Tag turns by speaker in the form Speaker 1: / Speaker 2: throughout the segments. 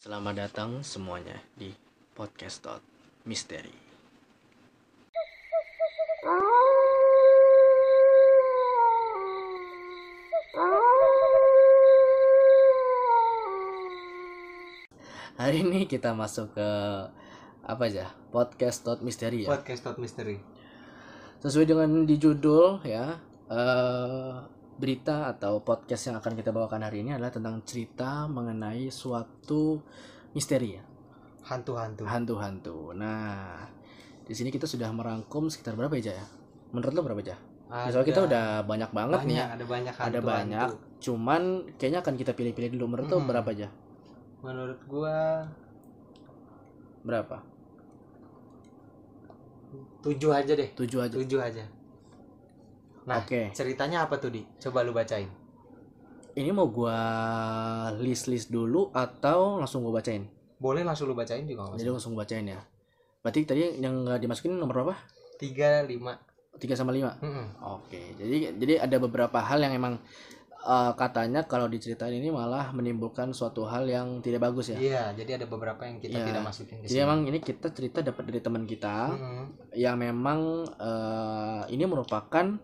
Speaker 1: Selamat datang semuanya di podcast Tot Misteri. Hari ini kita masuk ke apa aja? Podcast Tot Misteri ya.
Speaker 2: Podcast Tot Misteri.
Speaker 1: Sesuai dengan di judul ya. eh, berita atau podcast yang akan kita bawakan hari ini adalah tentang cerita mengenai suatu misteri ya.
Speaker 2: Hantu-hantu.
Speaker 1: hantu-hantu. Nah, di sini kita sudah merangkum sekitar berapa ya, Jaya? Menurut lo berapa, Jaya? Ya, Soalnya kita udah banyak banget
Speaker 2: banyak,
Speaker 1: nih.
Speaker 2: ada banyak hantu.
Speaker 1: Ada banyak. Cuman kayaknya akan kita pilih-pilih dulu. Menurut lo
Speaker 2: Mm-mm.
Speaker 1: berapa aja?
Speaker 2: Menurut gua
Speaker 1: Berapa?
Speaker 2: tujuh aja deh.
Speaker 1: Tujuh aja.
Speaker 2: Tujuh aja. Nah,
Speaker 1: Oke.
Speaker 2: ceritanya apa tuh, Di? Coba lu bacain.
Speaker 1: Ini mau gua list-list dulu atau langsung gua bacain?
Speaker 2: Boleh langsung lu bacain juga
Speaker 1: Jadi
Speaker 2: Mas.
Speaker 1: langsung gua bacain ya. Berarti tadi yang nggak dimasukin nomor berapa?
Speaker 2: Tiga, lima.
Speaker 1: 3 sama 5.
Speaker 2: Mm-mm.
Speaker 1: Oke, jadi jadi ada beberapa hal yang emang eh, katanya kalau diceritain ini malah menimbulkan suatu hal yang tidak bagus ya.
Speaker 2: Iya, jadi ada beberapa yang kita
Speaker 1: Iya.
Speaker 2: tidak masukin ke
Speaker 1: Jadi emang ini kita cerita dapat dari teman kita
Speaker 2: Mm-mm.
Speaker 1: yang memang eh, ini merupakan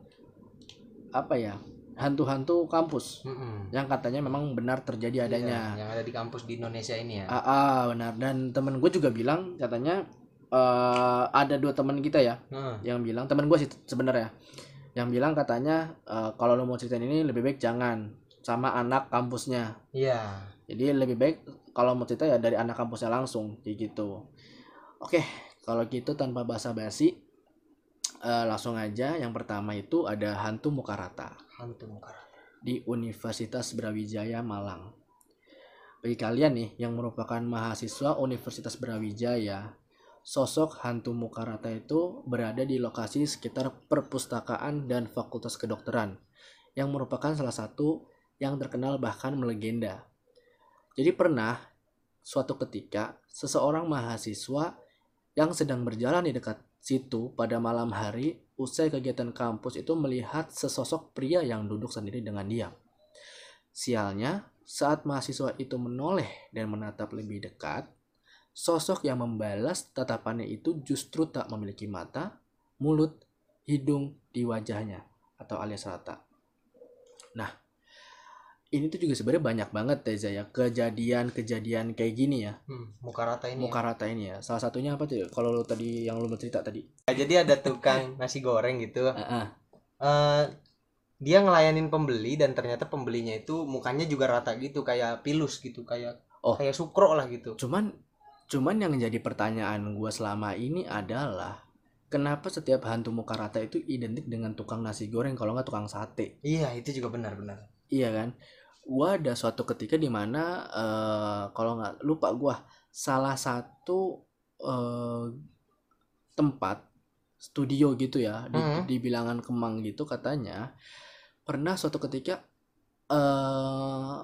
Speaker 1: apa ya hantu-hantu kampus
Speaker 2: Mm-mm.
Speaker 1: yang katanya memang benar terjadi
Speaker 2: Iya,
Speaker 1: adanya.
Speaker 2: yang ada di kampus di Indonesia ini ya.
Speaker 1: Ah, ah, benar dan temen gue juga bilang katanya eh, ada dua teman kita ya
Speaker 2: Nah,
Speaker 1: yang bilang teman gue sih sebenarnya yang bilang katanya eh, kalau lo mau ceritain ini lebih baik jangan sama anak kampusnya
Speaker 2: Iya.
Speaker 1: Jadi lebih baik kalau mau cerita ya dari anak kampusnya langsung kayak gitu. Oke, kalau gitu tanpa basa-basi eh, langsung aja yang pertama itu ada hantu muka rata
Speaker 2: hantu muka. rata.
Speaker 1: di Universitas Brawijaya Malang. Bagi kalian nih yang merupakan mahasiswa Universitas Brawijaya, sosok hantu muka rata itu berada di lokasi sekitar perpustakaan dan Fakultas Kedokteran yang merupakan salah satu yang terkenal bahkan melegenda. Jadi pernah suatu ketika seseorang mahasiswa yang sedang berjalan di dekat situ pada malam hari usai kegiatan kampus itu melihat sesosok pria yang duduk sendiri dengan diam. Sialnya, saat mahasiswa itu menoleh dan menatap lebih dekat, sosok yang membalas tatapannya itu justru tak memiliki mata, mulut, hidung di wajahnya atau alias rata. Nah, ini tuh juga sebenarnya banyak banget Teza ya kejadian-kejadian kayak gini ya
Speaker 2: Hmm, muka rata ini.
Speaker 1: muka rata ini ya salah satunya apa tuh kalau lu tadi yang lu cerita tadi
Speaker 2: Ya. Jadi ada tukang nasi goreng gitu.
Speaker 1: Heeh.
Speaker 2: eh dia ngelayanin pembeli dan ternyata pembelinya itu mukanya juga rata gitu kayak pilus gitu kayak
Speaker 1: Oh.
Speaker 2: kayak sukro lah gitu
Speaker 1: cuman cuman yang jadi pertanyaan gua selama ini adalah kenapa setiap hantu muka rata itu identik dengan tukang nasi goreng kalau nggak tukang sate
Speaker 2: iya itu juga benar-benar
Speaker 1: iya kan gua ada suatu ketika di mana eh, kalau nggak lupa gua salah satu eh, tempat studio gitu ya di,
Speaker 2: Mhm.
Speaker 1: di bilangan Kemang gitu katanya pernah suatu ketika eh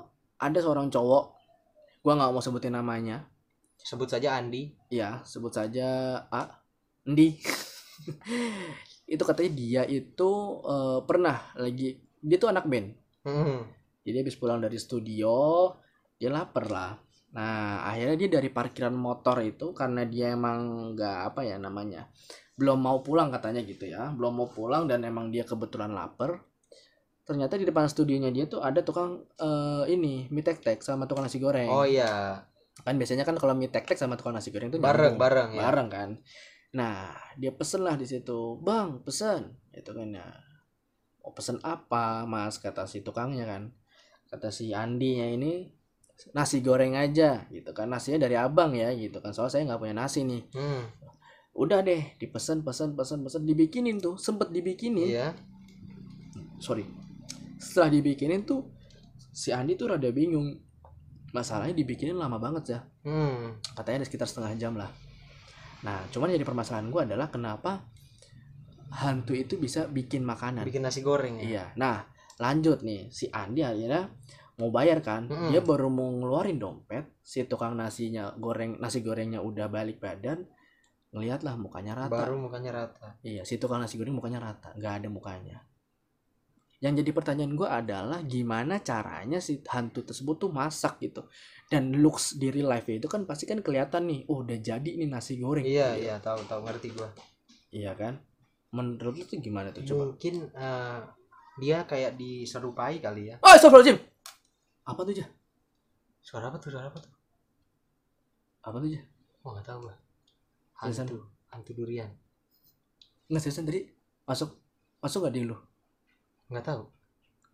Speaker 1: ada seorang cowok gua nggak mau sebutin namanya
Speaker 2: sebut saja Andi
Speaker 1: ya sebut saja A Ndi itu katanya dia itu eh, pernah lagi dia tuh anak band
Speaker 2: Hmm.
Speaker 1: jadi habis pulang dari studio, dia lapar lah. Nah, akhirnya dia dari parkiran motor itu karena dia emang nggak apa ya namanya, belum mau pulang katanya gitu ya, belum mau pulang dan emang dia kebetulan lapar. Ternyata di depan studionya dia tuh ada tukang eh, ini mie tek tek sama tukang nasi goreng.
Speaker 2: oh iya
Speaker 1: Kan biasanya kan kalau mie tek tek sama tukang nasi goreng tuh
Speaker 2: bareng
Speaker 1: nyambung
Speaker 2: bareng ya
Speaker 1: bareng kan nah dia pesen lah di situ bang pesen itu kan ya mau pesen apa mas kata si tukangnya kan kata si Andinya ini nasi goreng aja gitu kan nasinya dari abang ya gitu kan soalnya saya nggak punya nasi nih
Speaker 2: Hmm.
Speaker 1: udah deh dipesan pesan pesan pesan dibikinin tuh sempet dibikinin
Speaker 2: iya
Speaker 1: sorry setelah dibikinin tuh si Andi tuh rada bingung masalahnya dibikinin lama banget ya
Speaker 2: Hmm.
Speaker 1: katanya ada sekitar setengah jam lah nah cuman jadi permasalahan gue adalah kenapa hantu itu bisa bikin makanan
Speaker 2: bikin nasi goreng ya
Speaker 1: Nah. iya nah lanjut nih si Andi akhirnya mau bayar kan
Speaker 2: Mm-mm.
Speaker 1: dia baru mau ngeluarin dompet si tukang nasinya goreng nasi gorengnya udah balik badan ngelihatlah mukanya rata
Speaker 2: baru mukanya rata
Speaker 1: iya si tukang nasi goreng mukanya rata nggak ada mukanya Yang jadi pertanyaan gue adalah gimana caranya si hantu tersebut tuh masak gitu. Dan looks di real life itu kan pasti kan kelihatan nih, oh udah jadi nih nasi goreng.
Speaker 2: iya
Speaker 1: gitu.
Speaker 2: iya tahu tahu ngerti gua
Speaker 1: Iya kan? Menurut lu tuh gimana tuh coba?
Speaker 2: mungkin eh, dia kayak diserupai kali ya
Speaker 1: Oh, astagfirullahaladzim. Apa tuh, Jah?
Speaker 2: suara apa tuh suara apa tuh
Speaker 1: Apa tuh, Jah?
Speaker 2: oh nggak tahu gua
Speaker 1: Seriusan?
Speaker 2: hantu hantu durian
Speaker 1: Nggak seriusan tadi masuk masuk gak di lu?
Speaker 2: nggak tahu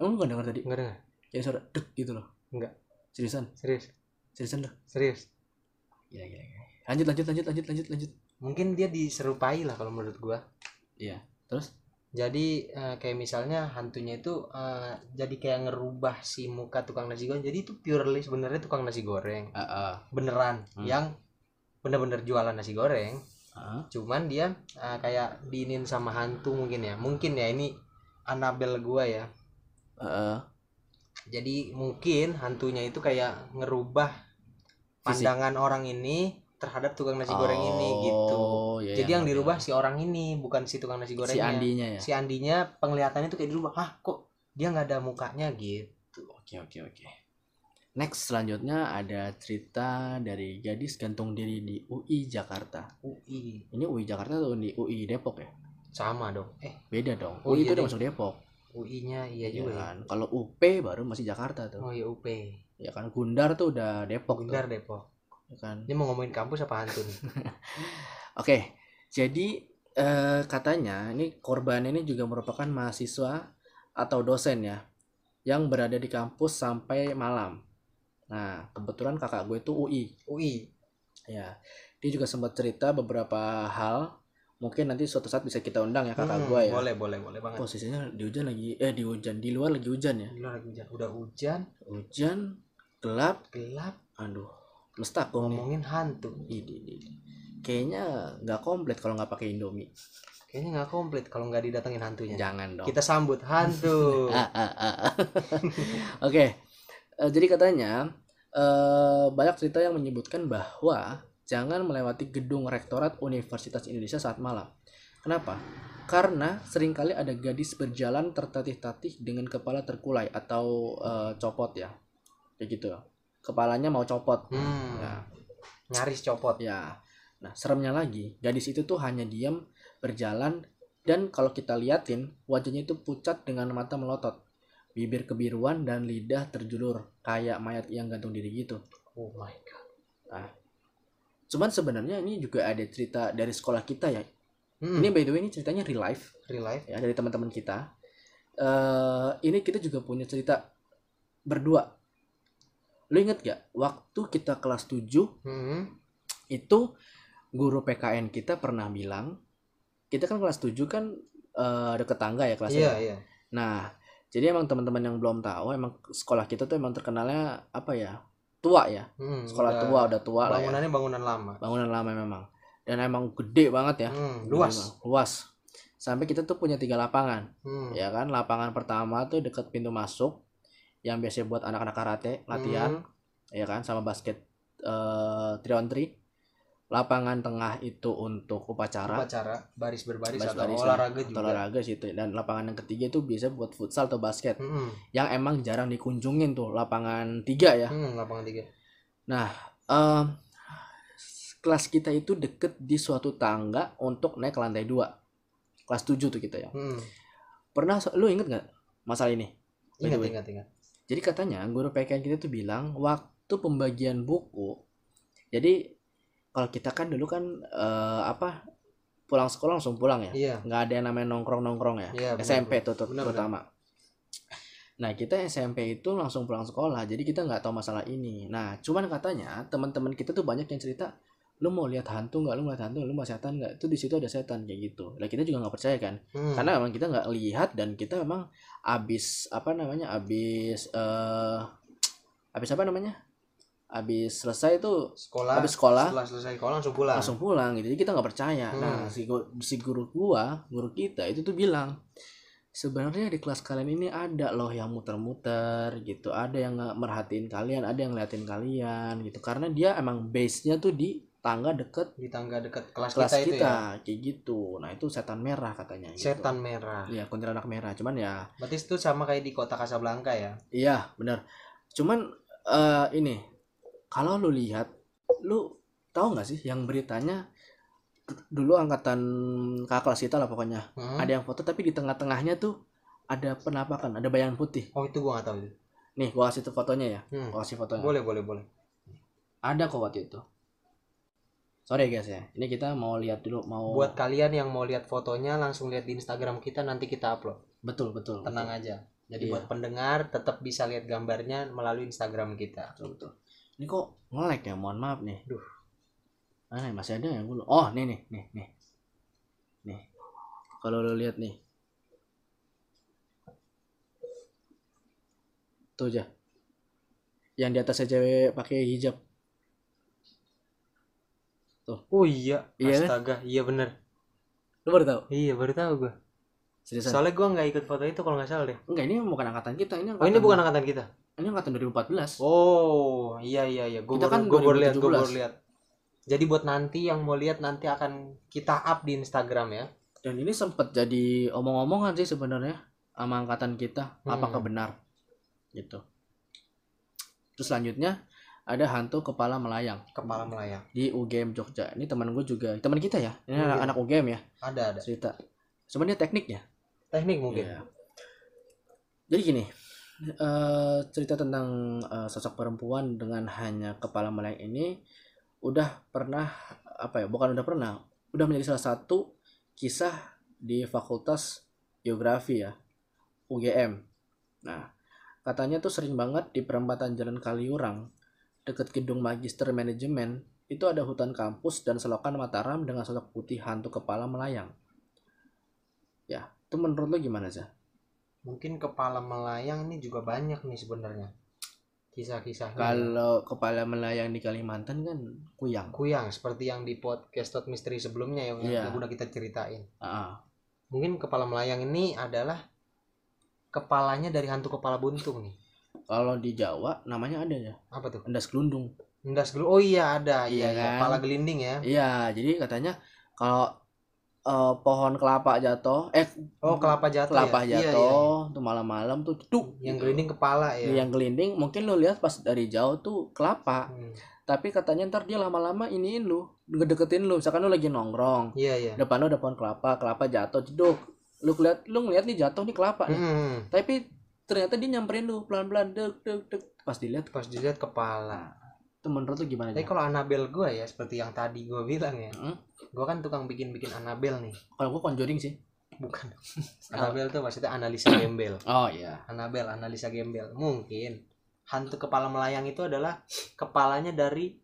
Speaker 1: Emang lu gak denger tadi?
Speaker 2: nggak dengar
Speaker 1: Kayak suara dek gitu loh.
Speaker 2: Nggak.
Speaker 1: Seriusan?
Speaker 2: serius
Speaker 1: Seriusan loh.
Speaker 2: serius
Speaker 1: Gila, gila, gila. iya. Lanjut, lanjut, lanjut, lanjut, lanjut, lanjut.
Speaker 2: mungkin dia diserupai lah kalau menurut gua
Speaker 1: Terus?
Speaker 2: jadi eh, kayak misalnya hantunya itu eh, jadi kayak ngerubah si muka tukang nasi goreng jadi itu purely sebenarnya tukang nasi goreng
Speaker 1: Heeh.
Speaker 2: beneran
Speaker 1: Hmm.
Speaker 2: yang bener-bener jualan nasi goreng cuman dia eh, kayak diinin sama hantu mungkin ya mungkin ya ini Anabel gua ya
Speaker 1: Heeh.
Speaker 2: jadi mungkin hantunya itu kayak ngerubah
Speaker 1: Fisik.
Speaker 2: pandangan orang ini terhadap tukang nasi goreng ini gitu
Speaker 1: Oh, iya,
Speaker 2: jadi yang
Speaker 1: ngerti,
Speaker 2: dirubah
Speaker 1: ngerti.
Speaker 2: si orang ini bukan si tukang
Speaker 1: si
Speaker 2: nasi gorengnya
Speaker 1: Andinya ya.
Speaker 2: si Andinya penglihatannya tuh kayak di rumah ah kok dia nggak ada mukanya gitu
Speaker 1: Oke, oke, oke. Next selanjutnya ada cerita dari gadis gantung diri di UI Jakarta.
Speaker 2: UI
Speaker 1: Ini UI Jakarta atau di UI Depok ya?
Speaker 2: sama dong eh
Speaker 1: Beda dong.
Speaker 2: Oh,
Speaker 1: UI itu
Speaker 2: iya
Speaker 1: udah
Speaker 2: deh.
Speaker 1: masuk Depok.
Speaker 2: UI nya iya
Speaker 1: Iya
Speaker 2: juga ya
Speaker 1: kan? Kalau UP baru masih Jakarta tuh.
Speaker 2: oh iya UP
Speaker 1: Ya kan Gundar tuh udah Depok tuh,
Speaker 2: Bundar Depok
Speaker 1: ya kan.
Speaker 2: ini mau ngomongin kampus apa hantu nih
Speaker 1: Oke, jadi eh, katanya ini korban ini juga merupakan mahasiswa atau dosen ya yang berada di kampus sampai malam. Nah, kebetulan kakak gue itu UI.
Speaker 2: UI
Speaker 1: Ya, dia juga sempat cerita beberapa hal. Mungkin nanti suatu saat bisa kita undang ya kakak
Speaker 2: Hmm,
Speaker 1: gue ya.
Speaker 2: boleh boleh boleh banget
Speaker 1: Posisinya di hujan lagi, eh di hujan di luar lagi hujan ya.
Speaker 2: Di luar lagi hujan udah hujan
Speaker 1: Hujan, gelap,
Speaker 2: gelap
Speaker 1: aduh, mestakung nih.
Speaker 2: ngomongin hantu
Speaker 1: Ini, ini, ini. Kayaknya nggak komplit kalau nggak pakai Indomie.
Speaker 2: kayaknya nggak komplit kalau nggak didatengin hantunya
Speaker 1: Jangan dong.
Speaker 2: kita sambut hantu
Speaker 1: Iya. Ah, ah, ah, ah. Oke, Eh, jadi katanya eh, banyak cerita yang menyebutkan bahwa jangan melewati gedung rektorat Universitas Indonesia saat malam. Kenapa? Karena seringkali ada gadis berjalan tertatih-tatih dengan kepala terkulai atau eh, copot ya, kayak gitu. Kepalanya mau copot.
Speaker 2: hmm,
Speaker 1: Ya.
Speaker 2: nyaris copot
Speaker 1: Ya. Nah, seremnya lagi, gadis itu tuh hanya diam, berjalan, dan kalau kita liatin, wajahnya itu pucat dengan mata melotot. Bibir kebiruan dan lidah terjulur, kayak mayat yang gantung diri gitu.
Speaker 2: oh my god
Speaker 1: Cuman sebenarnya ini juga ada cerita dari sekolah kita ya.
Speaker 2: Hmm,
Speaker 1: Ini by the way ini ceritanya real life
Speaker 2: real life
Speaker 1: ya dari teman-teman kita. eh ini kita juga punya cerita berdua. Lu inget gak waktu kita kelas 7
Speaker 2: Hmm,
Speaker 1: itu guru PKN kita pernah bilang kita kan kelas 7 kan eh, deket tangga ya kelasnya.
Speaker 2: iya iya
Speaker 1: Nah, jadi emang teman-teman yang belum tahu emang sekolah kita tuh emang terkenalnya apa ya? Tua ya.
Speaker 2: Hmm,
Speaker 1: Sekolah
Speaker 2: udah-
Speaker 1: tua udah tua lah ya.
Speaker 2: bangunannya bangunan lama
Speaker 1: Bangunan lama memang. Dan emang gede banget ya.
Speaker 2: Hmm,
Speaker 1: Gede
Speaker 2: luas
Speaker 1: banget, Luas. Sampai kita tuh punya tiga lapangan,
Speaker 2: Hmm.
Speaker 1: ya kan? Lapangan pertama tuh deket pintu masuk, yang biasa buat anak-anak karate latihan
Speaker 2: Hmm.
Speaker 1: ya kan sama basket eh 3 on 3 lapangan tengah itu untuk upacara
Speaker 2: upacara baris berbaris
Speaker 1: baris-
Speaker 2: atau
Speaker 1: baris lah,
Speaker 2: olahraga
Speaker 1: atau
Speaker 2: juga
Speaker 1: olahraga situ dan lapangan yang ketiga itu biasa buat futsal atau basket
Speaker 2: Hmm,
Speaker 1: yang emang jarang dikunjungin tuh lapangan tiga ya
Speaker 2: hmm, lapangan tiga
Speaker 1: Em, kelas kita itu deket di suatu tangga untuk naik ke lantai dua kelas 7 tuh kita ya
Speaker 2: Hmm,
Speaker 1: pernah lu inget nggak masalah ini By the
Speaker 2: ingat
Speaker 1: way.
Speaker 2: ingat ingat
Speaker 1: Jadi katanya guru PKN kita tuh bilang waktu pembagian buku. Jadi kalau kita kan dulu kan eh, apa pulang sekolah langsung pulang ya.
Speaker 2: iya
Speaker 1: Nggak ada yang namanya nongkrong-nongkrong ya.
Speaker 2: iya benar,
Speaker 1: SMP tuh tut-
Speaker 2: Benar, benar.
Speaker 1: terutama. Nah, kita SMP itu langsung pulang sekolah. Jadi kita nggak tahu masalah ini. Nah, cuman katanya teman-teman kita tuh banyak yang cerita lu mau lihat hantu nggak lu ngeliat hantu lu mau setan nggak itu di situ ada setan kayak gitu lah kita juga nggak percaya kan
Speaker 2: Hmm.
Speaker 1: karena memang kita nggak lihat dan kita memang abis apa namanya abis eh abis apa namanya abis selesai itu
Speaker 2: sekolah
Speaker 1: abis sekolah
Speaker 2: setelah selesai sekolah langsung pulang
Speaker 1: langsung pulang gitu jadi kita nggak percaya
Speaker 2: Hmm.
Speaker 1: nah si gu- si guru gua guru kita itu tuh bilang sebenarnya di kelas kalian ini ada loh yang muter-muter gitu ada yang nggak merhatiin kalian ada yang ngeliatin kalian gitu karena dia emang base nya tuh di tangga deket
Speaker 2: di tangga dekat kelas,
Speaker 1: kelas
Speaker 2: kita,
Speaker 1: kita,
Speaker 2: itu ya
Speaker 1: kayak gitu. Nah itu setan merah katanya. gitu.
Speaker 2: setan merah
Speaker 1: Iya kuntilanak merah. Cuman ya,
Speaker 2: berarti itu sama kayak di kota Casablanca ya
Speaker 1: iya benar. Cuman eh ini kalau lu lihat, lu tahu nggak sih yang beritanya dulu angkatan kakak kelas kita lah pokoknya
Speaker 2: Hmm?
Speaker 1: ada yang foto tapi di tengah-tengahnya tuh ada penampakan, ada bayangan putih.
Speaker 2: oh itu gua nggak tahu itu
Speaker 1: Nih gua kasih tuh fotonya ya,
Speaker 2: Hmm.
Speaker 1: gua kasih fotonya.
Speaker 2: boleh boleh boleh
Speaker 1: Ada kok waktu itu. Sorry guys ya, ini kita mau lihat dulu mau
Speaker 2: buat kalian yang mau lihat fotonya langsung lihat di Instagram kita nanti kita upload
Speaker 1: betul betul
Speaker 2: tenang
Speaker 1: betul.
Speaker 2: aja jadi
Speaker 1: Iya.
Speaker 2: buat pendengar tetap bisa lihat gambarnya melalui Instagram kita
Speaker 1: betul betul ini kok nge-lag ya mohon maaf nih
Speaker 2: Duh.
Speaker 1: mana ya? masih ada yang gue oh nih nih nih nih nih kalau lo lihat nih tuh aja yang di atasnya cewek pakai hijab
Speaker 2: oh iya
Speaker 1: Iya kan?
Speaker 2: astaga iya bener
Speaker 1: lo baru tahu
Speaker 2: iya baru tahu gua
Speaker 1: seriusan
Speaker 2: soalnya gua nggak ikut foto itu kalau nggak salah deh
Speaker 1: enggak ini bukan angkatan kita ini
Speaker 2: oh
Speaker 1: angkatan,
Speaker 2: ini bukan angkatan kita
Speaker 1: ini angkatan 2014
Speaker 2: Oh iya iya iya, gue
Speaker 1: Kita
Speaker 2: baru,
Speaker 1: kan
Speaker 2: gua baru lihat, gue
Speaker 1: 2017.
Speaker 2: baru lihat. Jadi buat nanti yang mau lihat nanti akan kita up di Instagram ya.
Speaker 1: dan ini sempat jadi omong-omongan sih sebenarnya sama angkatan kita
Speaker 2: Hmm.
Speaker 1: apakah benar gitu terus selanjutnya ada hantu kepala melayang
Speaker 2: Kepala melayang.
Speaker 1: di UGM Jogja ini teman gue juga teman kita ya ini
Speaker 2: Iya.
Speaker 1: anak, anak UGM ya
Speaker 2: Ada ada.
Speaker 1: cerita cuman dia tekniknya
Speaker 2: Teknik mungkin.
Speaker 1: Iya. jadi gini eh, cerita tentang eh, sosok perempuan dengan hanya kepala melayang ini udah pernah apa ya bukan udah pernah udah menjadi salah satu kisah di Fakultas Geografi ya UGM. Nah, katanya tuh sering banget di perempatan Jalan Kaliurang deket gedung Magister Manajemen itu ada hutan kampus dan selokan Mataram dengan sosok putih hantu kepala melayang. Ya, itu menurut lo gimana sih?
Speaker 2: Mungkin kepala melayang ini juga banyak nih sebenarnya. Kisah-kisahnya.
Speaker 1: Kalau kepala melayang di Kalimantan kan kuyang.
Speaker 2: Kuyang seperti yang di podcast Tot Misteri sebelumnya yang
Speaker 1: Iya.
Speaker 2: yang udah kita ceritain.
Speaker 1: Ah,
Speaker 2: Mungkin kepala melayang ini adalah kepalanya dari hantu kepala buntung nih.
Speaker 1: Kalau di Jawa namanya ada ya,
Speaker 2: Apa tuh?
Speaker 1: endas gelundung.
Speaker 2: Endas gelu. Oh iya ada.
Speaker 1: Iya
Speaker 2: Iya, iya.
Speaker 1: kan?
Speaker 2: Kepala gelinding ya.
Speaker 1: Iya, jadi katanya kalau eh, pohon kelapa jatuh, eh
Speaker 2: Oh kelapa jatuh.
Speaker 1: kelapa
Speaker 2: ya? Iya, iya,
Speaker 1: jatuh Iya.
Speaker 2: iya.
Speaker 1: tuh malam-malam tuh duduk
Speaker 2: yang gelinding kepala ya.
Speaker 1: yang gelinding mungkin lu lihat pas dari jauh tuh kelapa,
Speaker 2: Hmm.
Speaker 1: tapi katanya ntar dia lama-lama iniin lu, ngedeketin lu, misalkan lu lagi nongkrong,
Speaker 2: Iya iya.
Speaker 1: depan lu ada pohon kelapa, kelapa jatuh jeduk. Lu lihat lu ngeliat nih jatuh nih kelapa nih.
Speaker 2: Hmm.
Speaker 1: Tapi ternyata dia nyamperin lu pelan-pelan deg deg deg pas dilihat
Speaker 2: Pas dilihat kepala.
Speaker 1: tuh menurut lu gimana
Speaker 2: Tapi
Speaker 1: ya?
Speaker 2: kalau Anabel gua ya seperti yang tadi gua bilang ya.
Speaker 1: Hmm?
Speaker 2: Gua kan tukang bikin-bikin Anabel nih.
Speaker 1: Kalau gua conjuring sih.
Speaker 2: Bukan. Anabel tuh maksudnya analisa gembel.
Speaker 1: Oh iya.
Speaker 2: Anabel analisa gembel. Mungkin hantu kepala melayang itu adalah kepalanya dari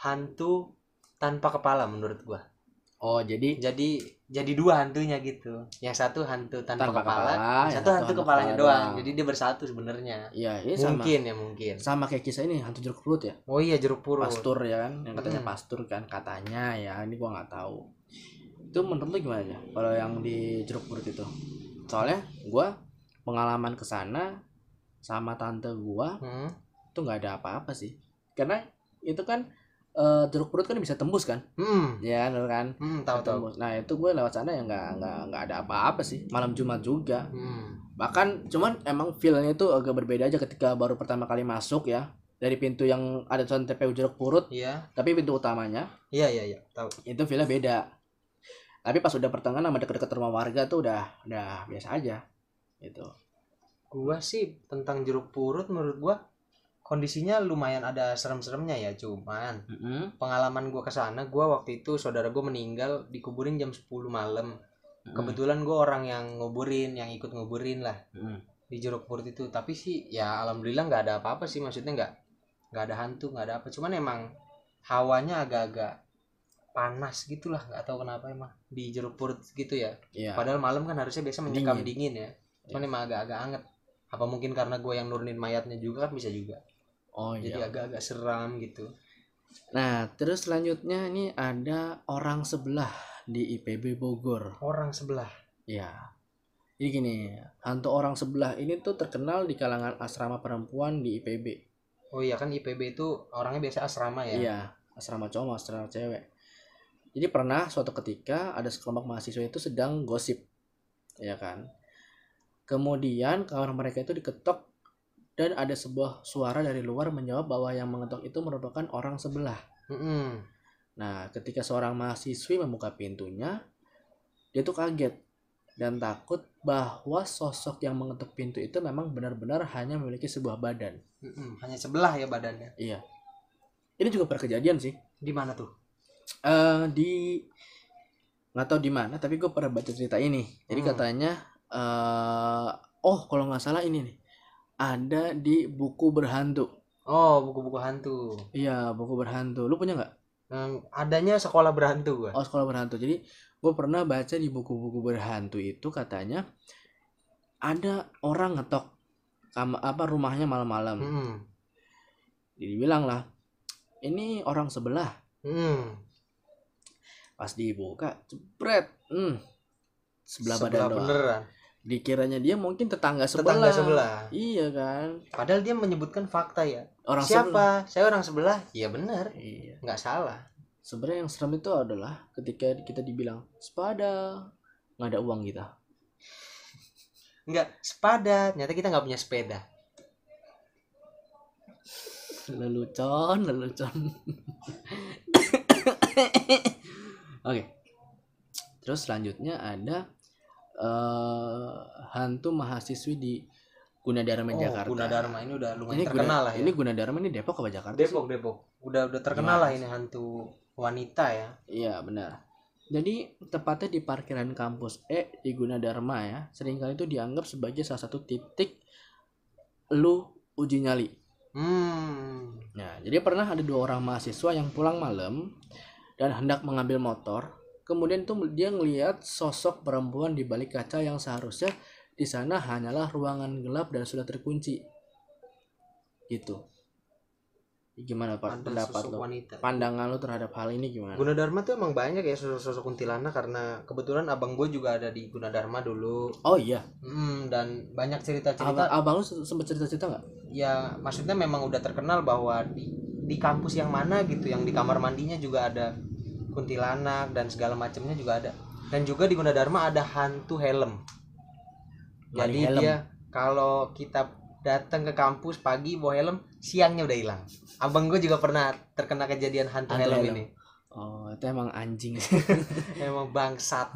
Speaker 2: hantu tanpa kepala menurut gua.
Speaker 1: Oh jadi
Speaker 2: Jadi jadi dua hantunya gitu. Yang satu hantu tanpa,
Speaker 1: Tanpa
Speaker 2: kepala,
Speaker 1: kepala,
Speaker 2: yang
Speaker 1: yang
Speaker 2: Iya, satu
Speaker 1: satu
Speaker 2: hantu
Speaker 1: hantu
Speaker 2: kepalanya
Speaker 1: kepala
Speaker 2: doang.
Speaker 1: doang.
Speaker 2: Jadi dia bersatu sebenarnya.
Speaker 1: iya ini sama
Speaker 2: Mungkin ya mungkin.
Speaker 1: sama kayak kisah ini hantu jeruk perut ya.
Speaker 2: Oh iya jeruk purut.
Speaker 1: pastur ya kan yang katanya
Speaker 2: Mm.
Speaker 1: pastur kan katanya ya ini gua nggak tahu itu menurut lu gimana ya kalau yang di jeruk purut itu soalnya gua pengalaman ke sana sama tante gua
Speaker 2: Hmm.
Speaker 1: itu nggak ada apa-apa sih karena itu kan eh, jeruk perut kan bisa tembus kan
Speaker 2: Hmm.
Speaker 1: ya bener kan
Speaker 2: Hmm, tahu tahu.
Speaker 1: Tembus. nah itu gue lewat sana ya nggak nggak nggak ada apa-apa sih malam jumat juga
Speaker 2: Hmm.
Speaker 1: bahkan cuman emang feelnya itu agak berbeda aja ketika baru pertama kali masuk ya dari pintu yang ada tulisan TPU jeruk purut
Speaker 2: Iya.
Speaker 1: tapi pintu utamanya
Speaker 2: Iya iya iya, tahu.
Speaker 1: itu villa beda tapi pas udah pertengahan sama deket-deket rumah warga tuh udah udah biasa aja gitu
Speaker 2: Gua sih tentang jeruk purut menurut gua kondisinya lumayan ada serem-seremnya ya, cuman pengalaman gua ke sana gua waktu itu saudara gua meninggal dikuburin jam 10 malam. Kebetulan gua orang yang nguburin, yang ikut nguburin lah
Speaker 1: Mm.
Speaker 2: di jeruk purut itu. Tapi sih ya alhamdulillah nggak ada apa-apa sih maksudnya nggak nggak ada hantu, nggak ada apa. Cuman emang hawanya agak-agak panas gitulah nggak tahu kenapa emang di jeruk purut gitu ya
Speaker 1: Iya.
Speaker 2: Padahal malam kan harusnya biasa menyekam dingin, ya. Cuman
Speaker 1: Iya.
Speaker 2: emang agak-agak anget. Apa mungkin karena gue yang nurunin mayatnya juga kan bisa juga.
Speaker 1: oh
Speaker 2: Jadi
Speaker 1: iya
Speaker 2: agak-agak seram gitu.
Speaker 1: nah terus selanjutnya ini ada orang sebelah di IPB Bogor
Speaker 2: Orang sebelah.
Speaker 1: ya jadi gini hantu orang sebelah ini tuh terkenal di kalangan asrama perempuan di IPB
Speaker 2: Oh iya kan IPB itu orangnya biasa asrama ya.
Speaker 1: Iya. asrama cowok sama asrama cewek jadi pernah suatu ketika ada sekelompok mahasiswa itu sedang gosip ya kan kemudian kamar mereka itu diketok dan ada sebuah suara dari luar menjawab bahwa yang mengetok itu merupakan orang sebelah
Speaker 2: Mm-mm.
Speaker 1: nah ketika seorang mahasiswi membuka pintunya dia tuh kaget dan takut bahwa sosok yang mengetuk pintu itu memang benar-benar hanya memiliki sebuah badan
Speaker 2: Mm-mm. hanya sebelah ya badannya
Speaker 1: ini juga pernah kejadian sih
Speaker 2: di mana tuh
Speaker 1: eh di nggak tahu di mana tapi gue pernah baca cerita ini jadi
Speaker 2: Hmm.
Speaker 1: katanya eh oh kalau nggak salah ini nih ada di buku berhantu
Speaker 2: oh buku-buku hantu
Speaker 1: iya buku berhantu lu punya nggak
Speaker 2: Yang adanya sekolah berhantu gua
Speaker 1: oh sekolah berhantu jadi gue pernah baca di buku-buku berhantu itu katanya ada orang ngetok kam- apa rumahnya malam-malam
Speaker 2: Mm-mm.
Speaker 1: jadi bilang lah ini orang sebelah
Speaker 2: Mm-mm.
Speaker 1: pas dibuka jebret hmm, sebelah, badan doang
Speaker 2: beneran
Speaker 1: dikiranya dia mungkin tetangga sebelah,
Speaker 2: tetangga sebelah
Speaker 1: iya kan
Speaker 2: padahal dia menyebutkan fakta ya
Speaker 1: orang sebelah.
Speaker 2: siapa saya orang sebelah ya benar
Speaker 1: iya
Speaker 2: nggak salah
Speaker 1: sebenarnya yang serem itu adalah ketika kita dibilang sepada nggak ada uang gitu. kita
Speaker 2: nggak sepada ternyata kita nggak punya sepeda
Speaker 1: lelucon lelucon oke terus selanjutnya ada eh, hantu mahasiswi di Gunadarma
Speaker 2: oh
Speaker 1: Jakarta
Speaker 2: Gunadarma ini udah lumayan
Speaker 1: ini
Speaker 2: terkenal
Speaker 1: Guna-
Speaker 2: lah ya
Speaker 1: ini Gunadarma ini Depok apa Jakarta sih?
Speaker 2: Depok Depok udah udah terkenal
Speaker 1: Gimana
Speaker 2: lah ini hantu wanita ya
Speaker 1: Iya benar. Jadi tepatnya di parkiran kampus E di Gunadarma ya, seringkali itu dianggap sebagai salah satu titik lu uji nyali.
Speaker 2: hmm
Speaker 1: Nah, jadi pernah ada dua orang mahasiswa yang pulang malam dan hendak mengambil motor. Kemudian itu dia ngelihat sosok perempuan di balik kaca yang seharusnya di sana hanyalah ruangan gelap dan sudah terkunci. Gitu. Gimana Pak,
Speaker 2: ada
Speaker 1: pendapat
Speaker 2: sosok
Speaker 1: lo?
Speaker 2: wanita
Speaker 1: Pandangan lo terhadap hal ini gimana?
Speaker 2: Gunadarma tuh emang banyak ya sosok-sosok kuntilanak karena kebetulan abang gue juga ada di Gunadarma dulu
Speaker 1: Oh iya,
Speaker 2: Hmm, dan banyak cerita-cerita
Speaker 1: Abang, abang lu se- sempet cerita-cerita nggak?
Speaker 2: ya maksudnya memang udah terkenal bahwa di di kampus yang mana gitu yang di kamar mandinya juga ada kuntilanak dan segala macamnya juga ada dan juga di Gunadarma ada hantu helm jadi
Speaker 1: Maling helm.
Speaker 2: dia kalau kita datang ke kampus pagi bawa helm siangnya udah hilang abang gue juga pernah terkena kejadian hantu
Speaker 1: Hantu
Speaker 2: helm,
Speaker 1: helm.
Speaker 2: ini
Speaker 1: Oh, itu emang anjing.
Speaker 2: emang bangsat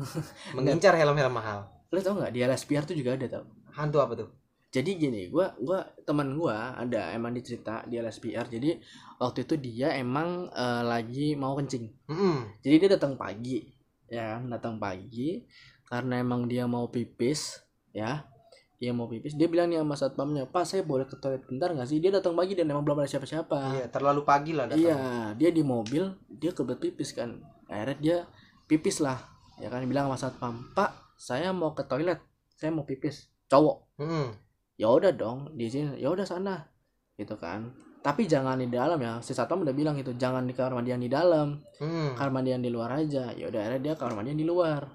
Speaker 2: mengincar helm-helm mahal
Speaker 1: lu tau nggak di LSPR tuh juga ada tau.
Speaker 2: hantu apa tuh
Speaker 1: Jadi gini, gua gua teman gua ada emang dicerita di LSPR. Jadi waktu itu dia emang eh, lagi mau kencing.
Speaker 2: Mm-mm.
Speaker 1: Jadi dia datang pagi, ya kan? datang pagi karena emang dia mau pipis, ya. Dia mau pipis, dia bilang nih sama satpamnya, "Pak, saya boleh ke toilet bentar nggak sih?" Dia datang pagi dan emang belum ada siapa-siapa.
Speaker 2: iya terlalu pagi lah
Speaker 1: Ah.
Speaker 2: datang
Speaker 1: Iya, dia di mobil, dia kebelet pipis kan. Akhirnya dia pipis lah. Ya kan bilang sama satpam, "Pak, saya mau ke toilet. Saya mau pipis." Cowok.
Speaker 2: Mm-mm.
Speaker 1: Ya udah dong, di sini. Ya udah sana. Gitu kan. Tapi jangan di dalam ya. Si satpam udah bilang gitu, jangan di kamar mandi yang di dalam.
Speaker 2: Mm.
Speaker 1: Kamar mandi yang di luar aja. Ya udah akhirnya dia kamar mandi yang di luar.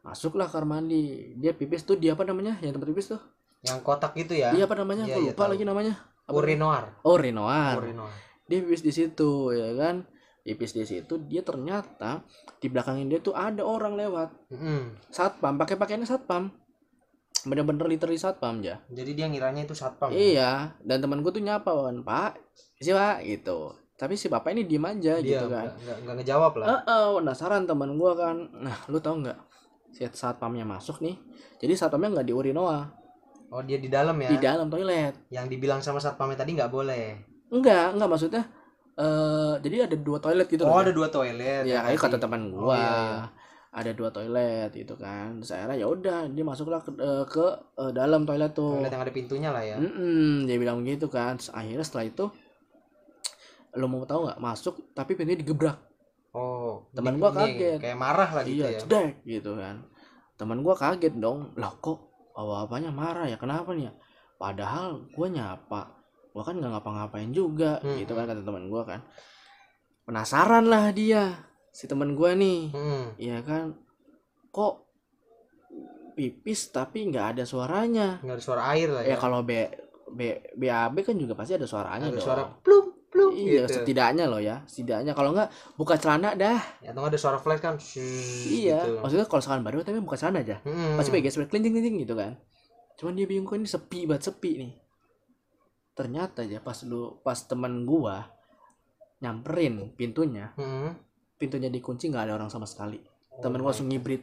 Speaker 1: Masuklah kamar mandi. Dia pipis tuh dia apa namanya? Yang tempat pipis tuh.
Speaker 2: yang kotak gitu ya
Speaker 1: Iya apa namanya?
Speaker 2: Iya,
Speaker 1: Gua
Speaker 2: iya,
Speaker 1: lupa
Speaker 2: tahu.
Speaker 1: lagi namanya. Apa
Speaker 2: urinoir
Speaker 1: namanya? Oh, Renoir.
Speaker 2: urinoir
Speaker 1: dia pipis di situ ya kan pipis di situ dia ternyata di belakangin dia tuh ada orang lewat
Speaker 2: Mm-mm.
Speaker 1: satpam pakai pakaiannya satpam bener-bener literally satpam ya
Speaker 2: Jadi dia ngiranya itu satpam.
Speaker 1: iya dan teman gue tuh nyapa wan pak si pak gitu tapi si bapak ini diem aja
Speaker 2: Dia
Speaker 1: gitu kan
Speaker 2: nggak- nggak nggak ngejawab lah.
Speaker 1: Eh, eh, penasaran teman gua kan. Nah, lu tau nggak? Si satpamnya masuk nih. Jadi satpamnya nggak di urinoa,
Speaker 2: Oh dia di dalam ya.
Speaker 1: di dalam toilet.
Speaker 2: Yang dibilang sama satpamnya tadi nggak boleh.
Speaker 1: Enggak, enggak maksudnya eh jadi ada dua toilet gitu
Speaker 2: oh
Speaker 1: loh,
Speaker 2: ada dua toilet.
Speaker 1: ya kayak kata teman
Speaker 2: Oh,
Speaker 1: gua
Speaker 2: iya, iya.
Speaker 1: ada dua toilet gitu kan Terus akhirnya ya udah dia masuklah ke, eh, ke, eh, dalam toilet tuh Hmm.
Speaker 2: Toilet yang ada pintunya lah ya.
Speaker 1: Mm-mm, dia bilang gitu kan Terus akhirnya setelah itu lo mau tahu nggak masuk tapi pintunya digebrak
Speaker 2: Oh
Speaker 1: Teman
Speaker 2: di-
Speaker 1: gua
Speaker 2: ini
Speaker 1: kaget.
Speaker 2: Kayak marah lah gitu
Speaker 1: iya
Speaker 2: ya.
Speaker 1: cedek gitu kan teman gua kaget dong lah kok awal apanya marah ya kenapa nih ya padahal gua nyapa gua kan nggak ngapa-ngapain juga
Speaker 2: Mm-mm.
Speaker 1: gitu kan kata teman gua kan penasaran lah dia si teman gua nih
Speaker 2: Mm.
Speaker 1: Iya kan kok pipis tapi nggak ada suaranya Iya,
Speaker 2: Nggak ada suara air lah ya.
Speaker 1: ya kalau B, B BAB kan juga pasti ada suaranya
Speaker 2: ada
Speaker 1: dong
Speaker 2: suara plum pluk
Speaker 1: Iya,
Speaker 2: gitu.
Speaker 1: setidaknya loh ya. Setidaknya kalau enggak buka celana dah.
Speaker 2: Ya, atau nggak ada suara flash kan. shhh,
Speaker 1: Iya.
Speaker 2: gitu. Hmm,
Speaker 1: Maksudnya kalau celana baru tapi buka celana aja.
Speaker 2: Mm-mm.
Speaker 1: Pasti pakai gesper klinjing klinjing gitu kan. Cuman dia bingung kok ini sepi banget sepi nih. Ternyata ya pas lu pas teman gua nyamperin pintunya,
Speaker 2: Mm-mm.
Speaker 1: pintunya dikunci nggak ada orang sama sekali. Temen gua
Speaker 2: hmm. Oh my.
Speaker 1: langsung ngibrit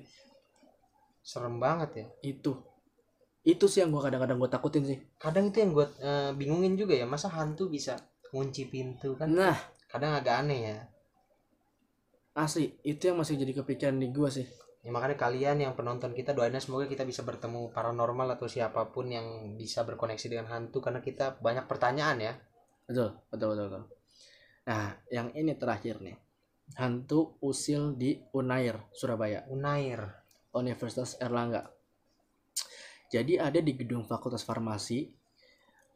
Speaker 2: serem banget ya.
Speaker 1: itu. Itu sih yang gua kadang-kadang gua takutin sih.
Speaker 2: Kadang itu yang gue bingungin juga ya, masa hantu bisa kunci pintu kan?
Speaker 1: Nah,
Speaker 2: Kadang agak aneh ya.
Speaker 1: asli itu yang masih jadi kepikiran di gua sih.
Speaker 2: Ya, makanya kalian yang penonton kita doainnya semoga kita bisa bertemu paranormal atau siapapun yang bisa berkoneksi dengan hantu karena kita banyak pertanyaan ya.
Speaker 1: Betul, betul, betul, betul. Nah, yang ini terakhir nih. Hantu usil di Unair, Surabaya,
Speaker 2: Unair.
Speaker 1: Universitas Erlangga. Jadi ada di gedung Fakultas Farmasi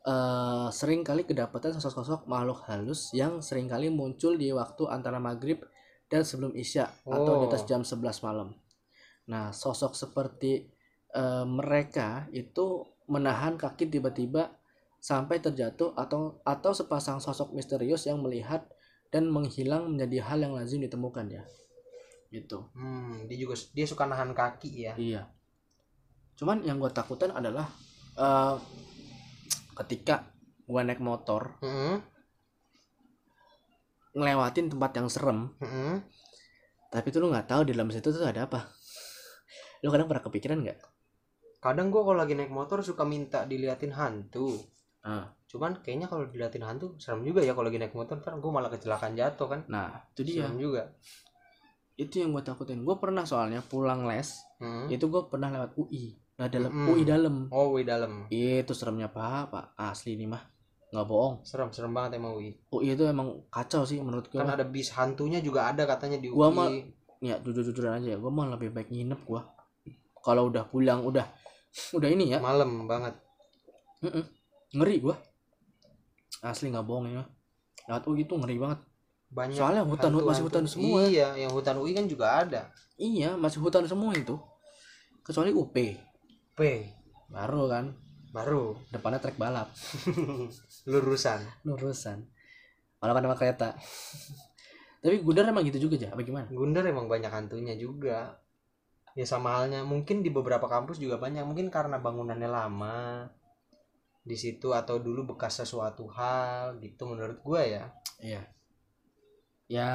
Speaker 1: eh, sering kali kedapatan sosok-sosok makhluk halus yang sering kali muncul di waktu antara maghrib dan sebelum isya atau di atas
Speaker 2: Oh.
Speaker 1: jam 11 malam. Nah, sosok seperti eh, mereka itu menahan kaki tiba-tiba sampai terjatuh atau atau sepasang sosok misterius yang melihat dan menghilang menjadi hal yang lazim ditemukan ya. Gitu.
Speaker 2: Hmm, dia juga dia suka nahan kaki ya.
Speaker 1: Iya. Cuman yang gue takutan adalah eh, ketika gue naik motor
Speaker 2: Heeh.
Speaker 1: ngelewatin tempat yang serem,
Speaker 2: Heeh.
Speaker 1: tapi tuh lu nggak tahu di dalam situ tuh ada apa. Lu kadang pernah kepikiran nggak?
Speaker 2: Kadang gua kalau lagi naik motor suka minta diliatin hantu.
Speaker 1: Ah.
Speaker 2: Cuman kayaknya kalau diliatin hantu serem juga ya kalau lagi naik motor ntar gua malah kecelakaan jatuh kan.
Speaker 1: Nah, itu dia.
Speaker 2: Serem juga.
Speaker 1: Itu yang gue takutin. Gue pernah soalnya pulang les,
Speaker 2: Heeh.
Speaker 1: itu gue pernah lewat UI. Nah, dalam
Speaker 2: Mm-mm.
Speaker 1: UI dalam.
Speaker 2: Hmm. Oh, wih dalam.
Speaker 1: Itu seremnya apa, Pak? Asli nih mah. Nggak bohong.
Speaker 2: Serem, serem banget emang UI.
Speaker 1: UI itu emang kacau sih menurut gue.
Speaker 2: Kan ada bis hantunya juga ada katanya di UI.
Speaker 1: Iya. Gua mah- ya jujur-jujuran aja ya gue mah lebih baik nginep gua kalau udah pulang udah udah ini ya
Speaker 2: malam banget.
Speaker 1: ngeri gua asli nggak bohong ya lewat UI tuh ngeri banget
Speaker 2: Banyak
Speaker 1: soalnya hutan
Speaker 2: Iya, Hantu-
Speaker 1: masih hutan
Speaker 2: hantu.
Speaker 1: semua
Speaker 2: Iya, yang hutan UI kan juga ada.
Speaker 1: iya masih hutan semua itu kecuali UP
Speaker 2: P
Speaker 1: baru kan
Speaker 2: baru
Speaker 1: depannya trek balap
Speaker 2: lurusan.
Speaker 1: lurusan malah kan sama kereta tapi Gundar emang gitu juga aja apa gimana
Speaker 2: Gundar emang banyak hantunya juga. Ya sama halnya mungkin di beberapa kampus juga banyak mungkin karena bangunannya lama di situ atau dulu bekas sesuatu hal gitu menurut gua ya.
Speaker 1: Iya. Ya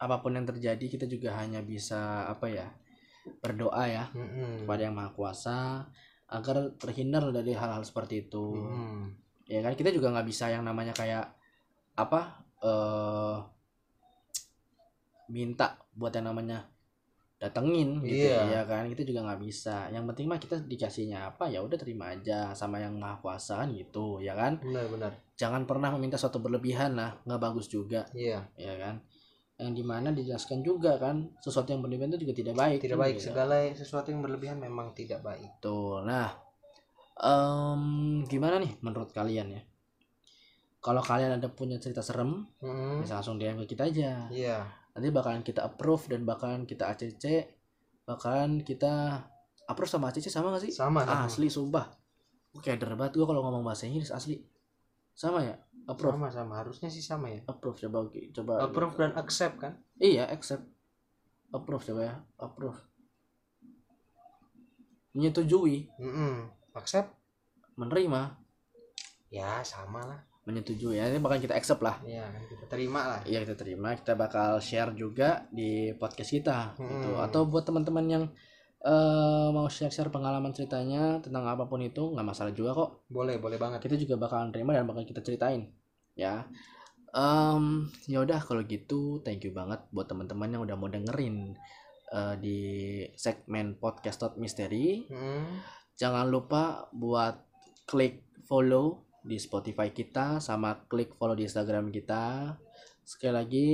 Speaker 1: apapun yang terjadi kita juga hanya bisa apa ya berdoa ya
Speaker 2: Mm-mm.
Speaker 1: kepada yang maha kuasa agar terhindar dari hal-hal seperti itu.
Speaker 2: Mm-mm.
Speaker 1: Ya kan kita juga nggak bisa yang namanya kayak apa eh minta buat yang namanya datengin gitu
Speaker 2: Iya.
Speaker 1: ya kan kita juga nggak bisa yang penting mah kita dikasihnya apa ya udah terima aja sama yang maha kuasa kan gitu ya kan
Speaker 2: Benar-benar.
Speaker 1: jangan pernah meminta sesuatu berlebihan lah nggak bagus juga
Speaker 2: Iya,
Speaker 1: ya kan yang dimana dijelaskan juga kan sesuatu yang berlebihan itu juga tidak baik
Speaker 2: tidak
Speaker 1: kan,
Speaker 2: baik
Speaker 1: ya.
Speaker 2: segala sesuatu yang berlebihan memang tidak baik.
Speaker 1: Betul. nah em, gimana nih menurut kalian ya kalau kalian ada punya cerita serem
Speaker 2: Mm-mm.
Speaker 1: bisa langsung DM ke kita aja
Speaker 2: Iya.
Speaker 1: nanti bakalan kita approve dan bakalan kita ACC bakalan kita approve sama ACC sama gak sih
Speaker 2: Sama. sama.
Speaker 1: asli sumpah gue keder banget gue kalau ngomong bahasa Inggris asli sama ya approve
Speaker 2: Sama sama harusnya sih sama ya.
Speaker 1: approve coba coba
Speaker 2: Approve dan accept kan?
Speaker 1: Iya, accept. Approve coba ya, approve. Menyetujui,
Speaker 2: Mm-mm. Accept?
Speaker 1: menerima,
Speaker 2: Ya sama lah.
Speaker 1: menyetujui. Ya, ini bakal kita accept lah.
Speaker 2: Ya kan kita terima lah.
Speaker 1: Iya, kita terima. Kita bakal share juga di podcast kita gitu.
Speaker 2: Hmm.
Speaker 1: Atau buat teman-teman yang eh, mau share-share pengalaman ceritanya tentang apapun itu nggak masalah juga kok.
Speaker 2: Boleh boleh banget.
Speaker 1: Kita juga bakalan terima dan bakal kita ceritain, ya. Em, ya udah kalau gitu thank you banget buat teman-teman yang udah mau dengerin eh, di segmen podcast Tot misteri
Speaker 2: Mm-mm.
Speaker 1: Jangan lupa buat klik follow di Spotify kita sama klik follow di Instagram kita. Sekali lagi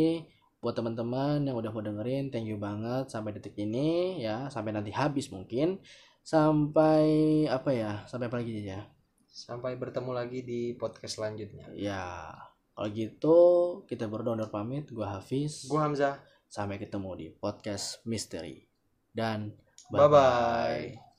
Speaker 1: buat teman-teman yang udah mau dengerin, thank you banget sampai detik ini ya, sampai nanti habis mungkin. Sampai apa ya? Sampai apa lagi ya?
Speaker 2: Sampai bertemu lagi di podcast selanjutnya.
Speaker 1: Ya, kalau gitu kita berdua undur pamit. Gua Hafiz.
Speaker 2: Gue Hamzah.
Speaker 1: Sampai ketemu di podcast misteri. Dan
Speaker 2: Bye-bye.